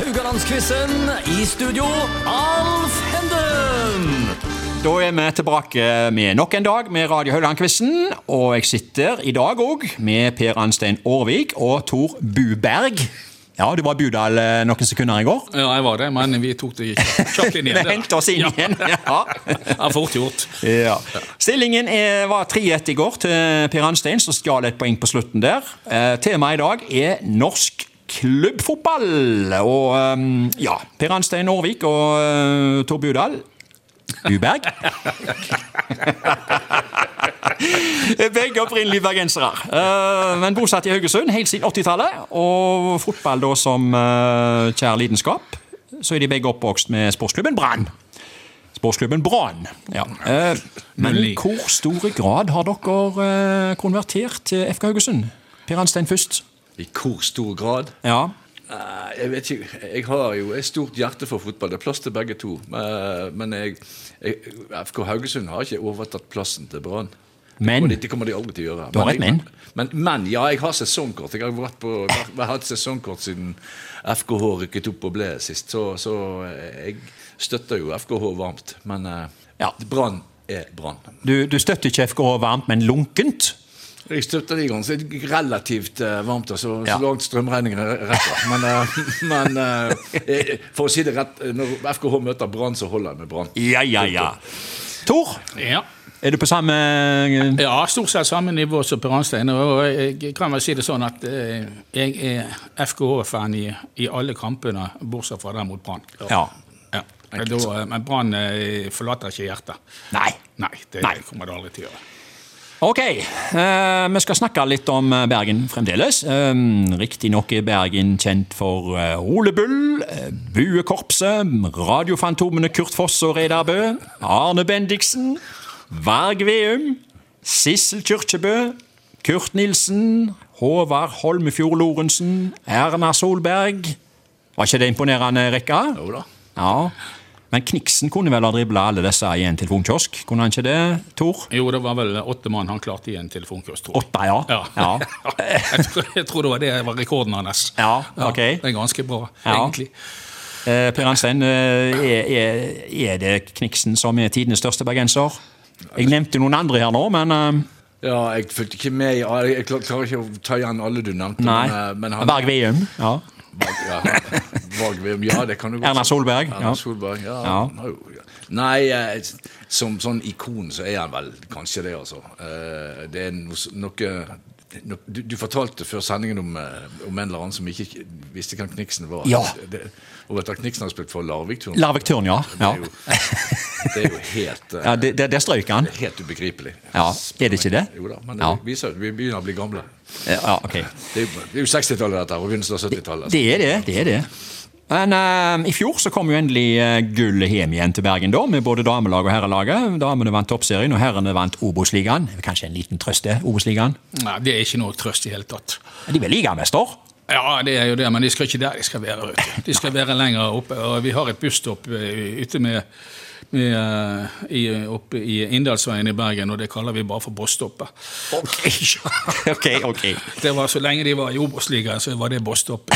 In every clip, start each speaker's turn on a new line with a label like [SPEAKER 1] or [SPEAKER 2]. [SPEAKER 1] Rogalandsquizen. I studio, Alf Henden.
[SPEAKER 2] Da er vi tilbake med nok en dag med Radio Høyland-quizen. Og jeg sitter i dag òg med Per Anstein Aarvik og Tor Buberg. Ja, du var i Budal eh, noen sekunder i går.
[SPEAKER 3] Ja, jeg var det, men vi tok det kjapt inn
[SPEAKER 2] Vi
[SPEAKER 3] igjen. det da.
[SPEAKER 2] hentet oss inn
[SPEAKER 3] ja.
[SPEAKER 2] igjen. Ja.
[SPEAKER 3] Ja, fort gjort.
[SPEAKER 2] Ja. Stillingen er, var 3-1 i går til Per Anstein, som stjal et poeng på slutten der. Eh, temaet i dag er norsk klubbfotball. Og ehm, ja, Per Anstein Aarvik og eh, Tor Budal Uberg. Begge opprinnelige bergensere, eh, men bosatt i Haugesund helt siden 80-tallet. Og fotball da som eh, kjær lidenskap. Så er de begge oppvokst med sportsklubben Brann. Sportsklubben Brann. Ja. Eh, Men i hvor stor grad har dere eh, konvertert til FK Haugesund? Per Anstein først.
[SPEAKER 4] I hvor stor grad?
[SPEAKER 2] Ja.
[SPEAKER 4] Nei, Eh, Jeg vet ikke. Jeg har jo et stort hjerte for fotball. Det er plass til begge to. Men- Men jeg, jeg, FK Haugesund har ikke overtatt plassen til Brann.
[SPEAKER 2] Men?
[SPEAKER 4] Og Det, det kommer de aldri til å gjøre.
[SPEAKER 2] Du har et men.
[SPEAKER 4] men. Men, ja, jeg har sesongkort. Jeg har, vært på, jeg har hatt sesongkort siden FKH rykket opp og ble sist. Så, så eh, jeg støtter jo FKH varmt. Men eh,
[SPEAKER 2] Ja.
[SPEAKER 4] Brann er Brann.
[SPEAKER 2] Du, du støtter ikke FK varmt, men lunkent?
[SPEAKER 4] Jeg støtter de ganske relativt eh, varmt, altså,
[SPEAKER 2] Ja.
[SPEAKER 4] så langt strømregningen re- rekker. Men, eh, men eh, for å si det rett, når FKH møter Brann, så holder jeg med Brann.
[SPEAKER 2] Ja, ja, ja. Tor,
[SPEAKER 3] Ja.
[SPEAKER 2] er du på samme eh,
[SPEAKER 3] ja, stort sett samme nivå som Per Arnstein. Og jeg kan vel si det sånn at eh, jeg er FKH-fan i, i alle kampene, bortsett fra den mot Brann.
[SPEAKER 2] Ja.
[SPEAKER 3] Ja. Men Da, eh, men Brann eh, forlater ikke hjertet.
[SPEAKER 2] Nei.
[SPEAKER 3] Nei, det
[SPEAKER 2] Nei.
[SPEAKER 3] kommer det aldri til å gjøre.
[SPEAKER 2] Ok, eh, vi skal snakke litt om eh, Bergen fremdeles. Um, Riktignok er Bergen kjent for eh, Ole Bull, eh, Buekorpset, Radiofantomene Kurt Foss og Reidar Bø, Arne Bendiksen, Varg Veum, Sissel Kyrkjebø, Kurt Nilsen, Håvard Holmefjord Lorentzen, Erna Solberg. Var ikke det imponerende rekka?
[SPEAKER 4] Jo da.
[SPEAKER 2] Ja. Men Kniksen kunne vel ha dribla alle disse i en telefonkiosk? Kunne han ikke det, Tor?
[SPEAKER 3] Jo, det var vel åtte mann han klarte i en telefonkurs, tror jeg.
[SPEAKER 2] Åtte, ja.
[SPEAKER 3] Ja.
[SPEAKER 2] Ja.
[SPEAKER 3] jeg, tror, jeg tror det var det var rekorden hans.
[SPEAKER 2] Ja, ok.
[SPEAKER 3] det er ganske bra,
[SPEAKER 2] Ja.
[SPEAKER 3] egentlig.
[SPEAKER 2] Eh, Per Anstein, eh, er, er, er det Kniksen som er tidenes største bergenser? Jeg nevnte noen andre her nå, men eh,
[SPEAKER 4] Ja, jeg fulgte ikke med. i- ja, Jeg, jeg klar- klarer ikke å ta igjen alle du nevnte.
[SPEAKER 2] Nei.
[SPEAKER 4] Men, eh, men han,
[SPEAKER 2] Berg Veum. Ja.
[SPEAKER 4] Varg, ja, Varg- ja, det kan du godt
[SPEAKER 2] Erna
[SPEAKER 4] si.
[SPEAKER 2] Solberg,
[SPEAKER 4] Erna
[SPEAKER 2] ja.
[SPEAKER 4] Solberg, ja.
[SPEAKER 2] Ja.
[SPEAKER 4] han har jo- ja. Nei, eh, som sånn ikon så er han vel kanskje det, altså. Eh, Det er noe, s- noe no- du, du fortalte før sendingen om, eh, om en eller annen som ikke visste hvem Kniksen var.
[SPEAKER 2] Ja.
[SPEAKER 4] Det, og vet du at Kniksen har spilt for Larvik-turen?
[SPEAKER 2] Larvik Tørn, ja.
[SPEAKER 4] Det,
[SPEAKER 2] ja.
[SPEAKER 4] er jo- det er jo helt, eh,
[SPEAKER 2] ja det, det, der strøyk han.
[SPEAKER 4] det er helt ubegripelig.
[SPEAKER 2] Ja, er det ikke det?
[SPEAKER 4] Jo da, men det
[SPEAKER 2] Ja.
[SPEAKER 4] viser at vi begynner å bli gamle.
[SPEAKER 2] Eh, Ja, ok.
[SPEAKER 4] Det er jo, det er jo 60-tallet dette, her, og begynnelsen av 70-tallet.
[SPEAKER 2] Det er det. det er det. Men eh, i fjor så kom jo endelig eh, gullet hjem igjen til Bergen, da, med både damelag og herrelaget. Damene vant Toppserien, og herrene vant Obos-ligaen. Det er Kanskje en liten trøst, det. Obos-ligaen.
[SPEAKER 3] Nei, det er ikke noe trøst i hele tatt.
[SPEAKER 2] De ble ligamester.
[SPEAKER 3] Ja, det er jo det, men de skal ikke der de skal være. vet du. De skal være lenger oppe. og Vi har et busstopp eh, ute med, med, eh, i, oppe i Inndalsveien i Bergen, og det kaller vi bare for Bosstoppet.
[SPEAKER 2] Ok, ok. ok.
[SPEAKER 3] Det var Så lenge de var i Obos-ligaen, så var det Bosstoppet.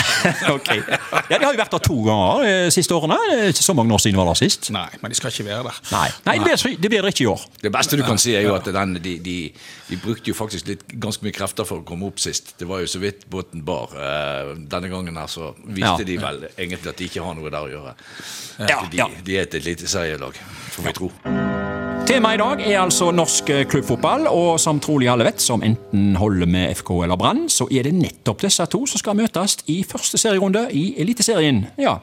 [SPEAKER 2] Ok. Ja, De har jo vært der to ganger de siste årene. Det er Ikke så mange år siden de var der sist.
[SPEAKER 3] Nei, men de skal ikke være der.
[SPEAKER 2] Nei, Nei det, blir, det blir det ikke i år.
[SPEAKER 4] Det beste du kan si, er jo at den, de, de, de brukte jo faktisk litt, ganske mye krefter for å komme opp sist. Det var jo så vidt båten bar. Eh, Denne gangen her så
[SPEAKER 2] Ja.
[SPEAKER 4] viste de vel egentlig at de ikke har noe der å gjøre.
[SPEAKER 2] Ja,
[SPEAKER 4] de,
[SPEAKER 2] ja.
[SPEAKER 4] de er et lite serielag, får vi tro.
[SPEAKER 2] Temaet i dag er altså norsk eh, klubbfotball, og som trolig alle vet, som enten holder med FK eller Brann, så er det nettopp disse to som skal møtes i første serierunde i Eliteserien. Ja.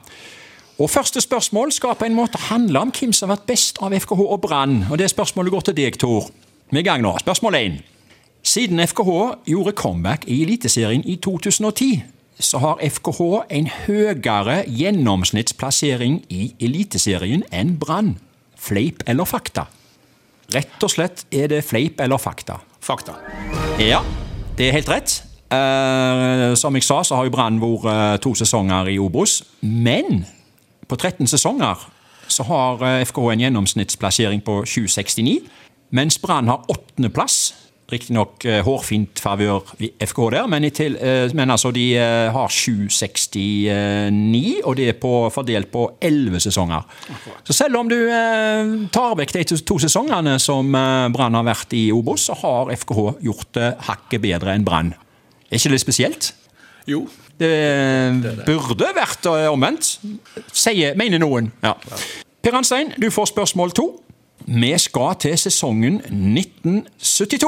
[SPEAKER 2] Og første spørsmål skal på en måte handle om hvem som har vært best av FKH og Brann. Og det spørsmålet går til deg, Tor. Vi er i gang nå. Spørsmål én. Siden FKH gjorde comeback i Eliteserien i 2010, så har FKH en høyere gjennomsnittsplassering i Eliteserien enn Brann. Fleip eller fakta? Rett og slett er det fleip eller fakta.
[SPEAKER 3] Fakta.
[SPEAKER 2] Ja, det er helt rett. Eh, som jeg sa, så har jo Brann vært eh, to sesonger i Obos. Men på 13 sesonger så har eh, FK en gjennomsnittsplassering på 769. Mens Brann har åttendeplass. Riktignok eh, hårfint favør i FK der, men, i til, eh, men altså de eh, har 769, og det er på, fordelt på 11 sesonger. Så selv om du eh, tar vekk de to, to sesongene som eh, Brann har vært i Obos, så har FKH gjort det hakket bedre enn Brann. Er ikke det spesielt?
[SPEAKER 4] Jo.
[SPEAKER 2] Det, eh, burde vært eh, omvendt, sier, mener noen. Ja. Per Anstein, du får spørsmål to. Vi skal til sesongen 1972.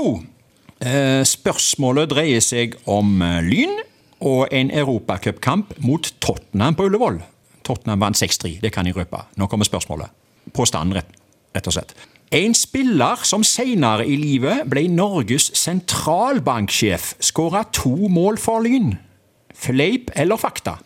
[SPEAKER 2] Eh, Spørsmålet dreier seg om eh, Lyn og en europacupkamp mot Tottenham på Ullevål. Tottenham vant 6-3, det kan jeg røpe. Nå kommer spørsmålet. Påstanden, rett, rett og slett. En spiller som senere i livet ble Norges sentralbanksjef, skåra to mål for Lyn. Fleip eller fakta?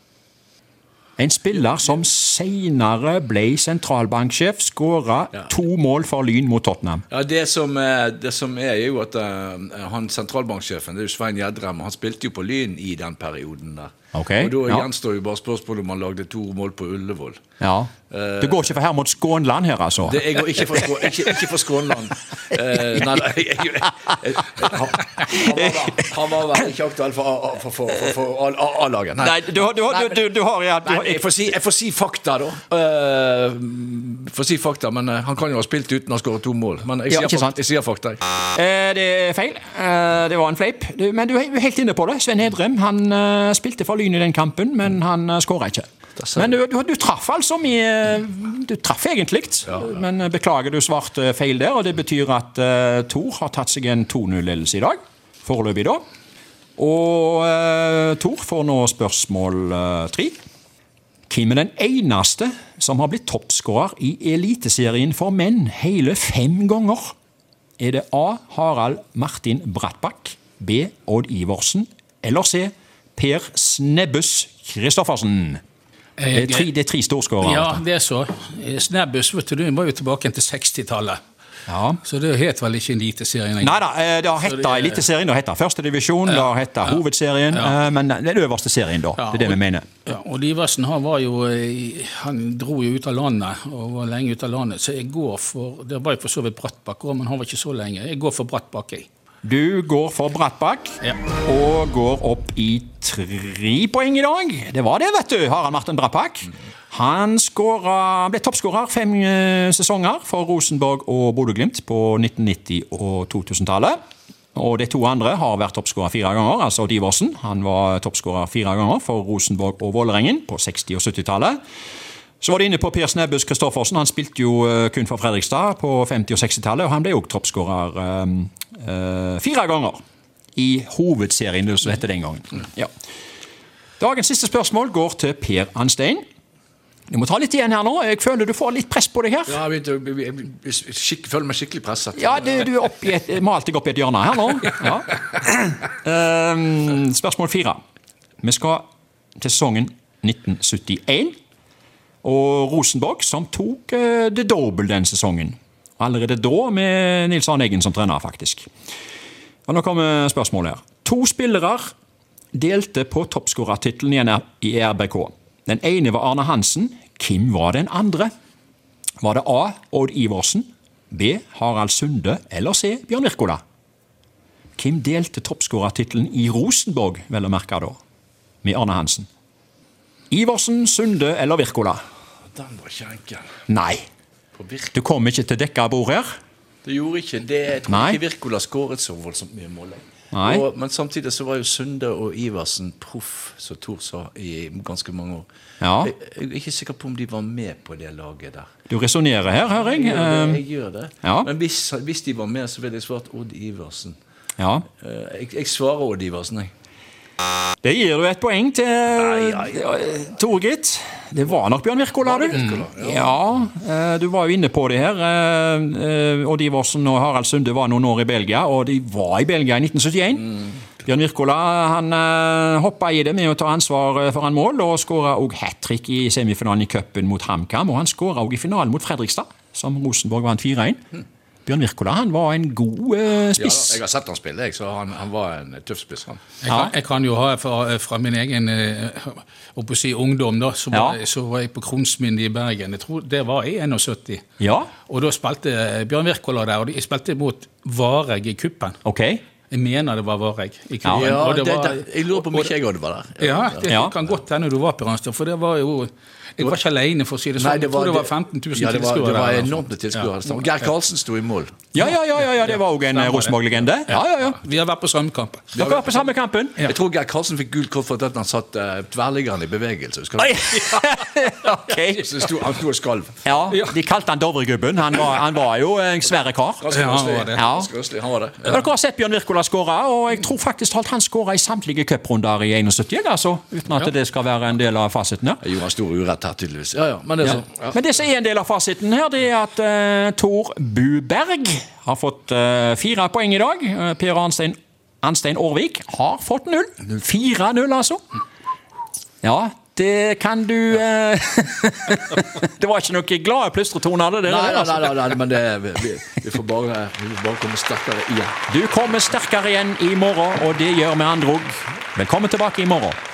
[SPEAKER 2] En spiller som senere ble sentralbanksjef, skåra to mål for Lyn mot Tottenham.
[SPEAKER 4] Ja, det som, er, det som er, er jo at eh, han sentralbanksjefen, det er jo Svein Gjedrem, han spilte jo på Lyn i den perioden der.
[SPEAKER 2] Ok,
[SPEAKER 4] og da
[SPEAKER 2] ja.
[SPEAKER 4] gjenstår jo bare spørsmålet om han lagde to mål på Ullevål.
[SPEAKER 2] Ja. Det går ikke for Hermod Skånland her, altså.
[SPEAKER 4] Det, jeg går ikke for, Skå- ikke, ikke for Skånland. Eh, nei, nei, jeg, jeg, jeg, han, han var da- han var vel ikke aktuell for, A- A- for, for, for, for A- A- A-laget. Nei.
[SPEAKER 2] Nei, du, har- du, har- du, du, du har ja, du,
[SPEAKER 4] Nei,
[SPEAKER 2] har-
[SPEAKER 4] jeg, får si, jeg får si fakta, da. Eh, får si fakta, men eh, Han kan jo ha spilt uten å ha skåret to mål. Men jeg
[SPEAKER 2] Ja,
[SPEAKER 4] sier,
[SPEAKER 2] ikke sant.
[SPEAKER 4] fakta, jeg sier fakta. jeg.
[SPEAKER 2] Eh, Det er feil. Eh, Det var en fleip. Du- Men du er helt inne på det. Sven Hedrem han eh, spilte for Lyn i den kampen, men han skåra ikke. Men du, du, du traff altså med Du traff egentlig, men eh, beklager du svarte feil der. Og det betyr at eh, Thor har tatt seg en 2-0-ledelse i dag. Foreløpig, da. Og eh, Thor får nå spørsmål eh, tre. Hvem er den eneste som har blitt toppskårer i Eliteserien for menn hele fem ganger? Er det A. Harald Martin Brattbakk, B. Odd Iversen, eller C. Per Snebbus Christoffersen? Det er tre, det er tre storskårere.
[SPEAKER 3] Eh, Ja,
[SPEAKER 2] dette.
[SPEAKER 3] det er så. Snebbus, vet du, må jo tilbake igjen til 60-tallet.
[SPEAKER 2] Ja.
[SPEAKER 3] Så det het vel ikke Eliteserien lenger.
[SPEAKER 2] Nei da, eh, det har
[SPEAKER 3] det
[SPEAKER 2] hetta
[SPEAKER 3] er-
[SPEAKER 2] Eliteserien, det har hetta Førstedivisjon, det har hetta Hovedserien, eh, men den øverste serien, da. Det er det
[SPEAKER 3] og-
[SPEAKER 2] vi mener.
[SPEAKER 3] Ja, og Liversen han var jo eh, Han dro jo ut av landet, og var lenge ute av landet. Så jeg går for Det var jo for så vidt Brattbakk òg, men han var ikke så lenge. Jeg går for Brattbakk, jeg.
[SPEAKER 2] Du går for Brattbakk
[SPEAKER 3] Ja.
[SPEAKER 2] og går opp i tre poeng i dag. Det var det, vet du, Harald Martin Brattbakk. Han skåra- ble toppskårer fem eh, sesonger for Rosenborg og Bodø-Glimt på 1990- og 2000-tallet. Og de to andre har vært toppskårer fire ganger, altså Diversen. Han var toppskårer fire ganger for Rosenborg og Vålerengen på 60- og 70-tallet. Så var du inne på Per Snebbus Christoffersen. Han spilte jo eh, kun for Fredrikstad på 50- og 60-tallet, og han ble òg toppskårer eh, eh, fire ganger i hovedserien, som det het den gangen. Ja. Dagens siste spørsmål går til Per Anstein. Du må ta litt igjen her nå. Jeg føler du får litt press på deg her.
[SPEAKER 4] Ja, jeg, begynte å bli- jeg, bli- skikk, føler meg skikkelig presset.
[SPEAKER 2] Ja, du, du er opp i et, malt deg opp i et hjørne her nå. Ja. Ehm, spørsmål fire. Vi skal til sesongen 1971. Og Rosenborg, som tok eh, det dobbel den sesongen. Allerede da med Nils Arne Eggen som trener, faktisk. Og Nå kommer spørsmålet her. To spillere delte på toppskårertittelen i NR i RBK. Den ene var Arne Hansen. Hvem var den andre? Var det A. Odd Iversen, B. Harald Sunde eller C. Bjørn Wirkola? Hvem delte toppskårertittelen i Rosenborg, vel å merke da, med Arne Hansen? Iversen, Sunde eller Wirkola?
[SPEAKER 4] Den var ikke enkel.
[SPEAKER 2] Nei,
[SPEAKER 4] På Virk-
[SPEAKER 2] du kom ikke til dekka bord her.
[SPEAKER 4] Det gjorde ikke det. Jeg tror
[SPEAKER 2] Nei.
[SPEAKER 4] ikke Wirkola skåret så voldsomt mye mål.
[SPEAKER 2] Nei.
[SPEAKER 4] Og, men samtidig så var jo Sunde og Iversen proff, som Thor sa, i ganske mange år.
[SPEAKER 2] Ja.
[SPEAKER 4] Jeg, jeg er ikke sikker på om de var med på det laget der.
[SPEAKER 2] Du resonnerer her, hører
[SPEAKER 4] Jeg
[SPEAKER 2] jeg.
[SPEAKER 4] gjør det.
[SPEAKER 2] Eh,
[SPEAKER 4] Jeg gjør det.
[SPEAKER 2] ja.
[SPEAKER 4] Men hvis, hvis de var med, så ville jeg svart Odd Iversen.
[SPEAKER 2] Ja.
[SPEAKER 4] Eh, Jeg, jeg svarer Odd Iversen, jeg.
[SPEAKER 2] Det gir du et poeng til
[SPEAKER 4] ai,
[SPEAKER 2] Tore, gitt. Det var nok Bjørn Wirkola, du. Ja, eh, du var jo inne på det her. eh, eh, Odd Iversen og Harald Sunde var noen år i Belgia, og de var i Belgia i 1971. Bjørn Wirkola han hoppa i det med å ta ansvar eh, foran mål, og skåra òg hat trick i semifinalen i cupen mot HamKam. Og han skåra òg i finalen mot Fredrikstad, som Rosenborg vant 4-1. Bjørn Wirkola han var en god eh,
[SPEAKER 4] Ja, da,
[SPEAKER 2] spiss.
[SPEAKER 4] jeg har sett han spille, jeg, så han, han var en tøff spiss, han.
[SPEAKER 3] Jeg kan, jeg kan jo ha fra, fra min egen eh, holdt på å si, ungdom, da, så var,
[SPEAKER 2] Ja.
[SPEAKER 3] jeg- så var jeg på Kronsmynde i Bergen. Jeg tror Det var i 71.
[SPEAKER 2] Ja,
[SPEAKER 3] eh, Og da spilte Bjørn Wirkola der, og de spilte mot Vareg i kuppen.
[SPEAKER 2] ok.
[SPEAKER 3] Jeg mener det var Vareg. i Kuen,
[SPEAKER 4] Ja,
[SPEAKER 3] og det var-
[SPEAKER 4] det- det- jeg lurer på om ikke jeg òg var der.
[SPEAKER 3] Ja, det
[SPEAKER 2] Ja.
[SPEAKER 3] kan godt hende du var på Ransdal, for det var jo Jeg var ikke alene, for å si det sånn.
[SPEAKER 4] Nei,
[SPEAKER 3] jeg tror det var 15 000
[SPEAKER 4] ja, det var,
[SPEAKER 3] tilskuere.
[SPEAKER 4] Det var
[SPEAKER 3] der, altså.
[SPEAKER 4] enormt med tilskuere.
[SPEAKER 3] Ja.
[SPEAKER 4] det stemmer. Geir Karlsen sto i mål.
[SPEAKER 2] Ja, ja, ja, ja, ja det var òg en eh, Rosenborg-legende. Ja, ja, ja.
[SPEAKER 3] Vi har vært på svømmekamp.
[SPEAKER 2] Dere var på samme kampen.
[SPEAKER 4] Jeg tror Geir Karlsen fikk gult kort for at han satt uh, tverrliggende i bevegelse. husker du?
[SPEAKER 2] Oi. ok.
[SPEAKER 4] Så det sto, han sto og skalv.
[SPEAKER 2] Ja, de kalte han Dovregubben. Han var, han var jo en svære kar.
[SPEAKER 4] Ganske
[SPEAKER 3] Ja, han
[SPEAKER 4] røslig.
[SPEAKER 3] var det.
[SPEAKER 2] Ja.
[SPEAKER 4] Ganske røslig, Han var det.
[SPEAKER 2] Dere har sett Bjørn Wirkola skåre, og jeg tror faktisk talt han skåra i samtlige cuprunder i 71, jeg, altså. Uten at det skal være en del av fasiten her.
[SPEAKER 4] Jeg gjorde en stor urett her, tydeligvis. Ja, ja, men det er sånn. Ja.
[SPEAKER 2] Men det som er en del av fasiten her, det er at eh, Tor Buberg har fått eh, fire poeng i dag. Eh, per Arnstein, Arnstein Aarvik har fått null. 4-0, altså. Ja, det kan du eh, Det var ikke noe glade plystretoner, det der.
[SPEAKER 4] Nei, nei,
[SPEAKER 2] altså.
[SPEAKER 4] nei, nei, nei, men det, vi, vi- vi, får bare, vi får bare komme sterkere igjen.
[SPEAKER 2] Du kommer sterkere igjen i morgen, og det gjør vi andre òg. Velkommen tilbake i morgen.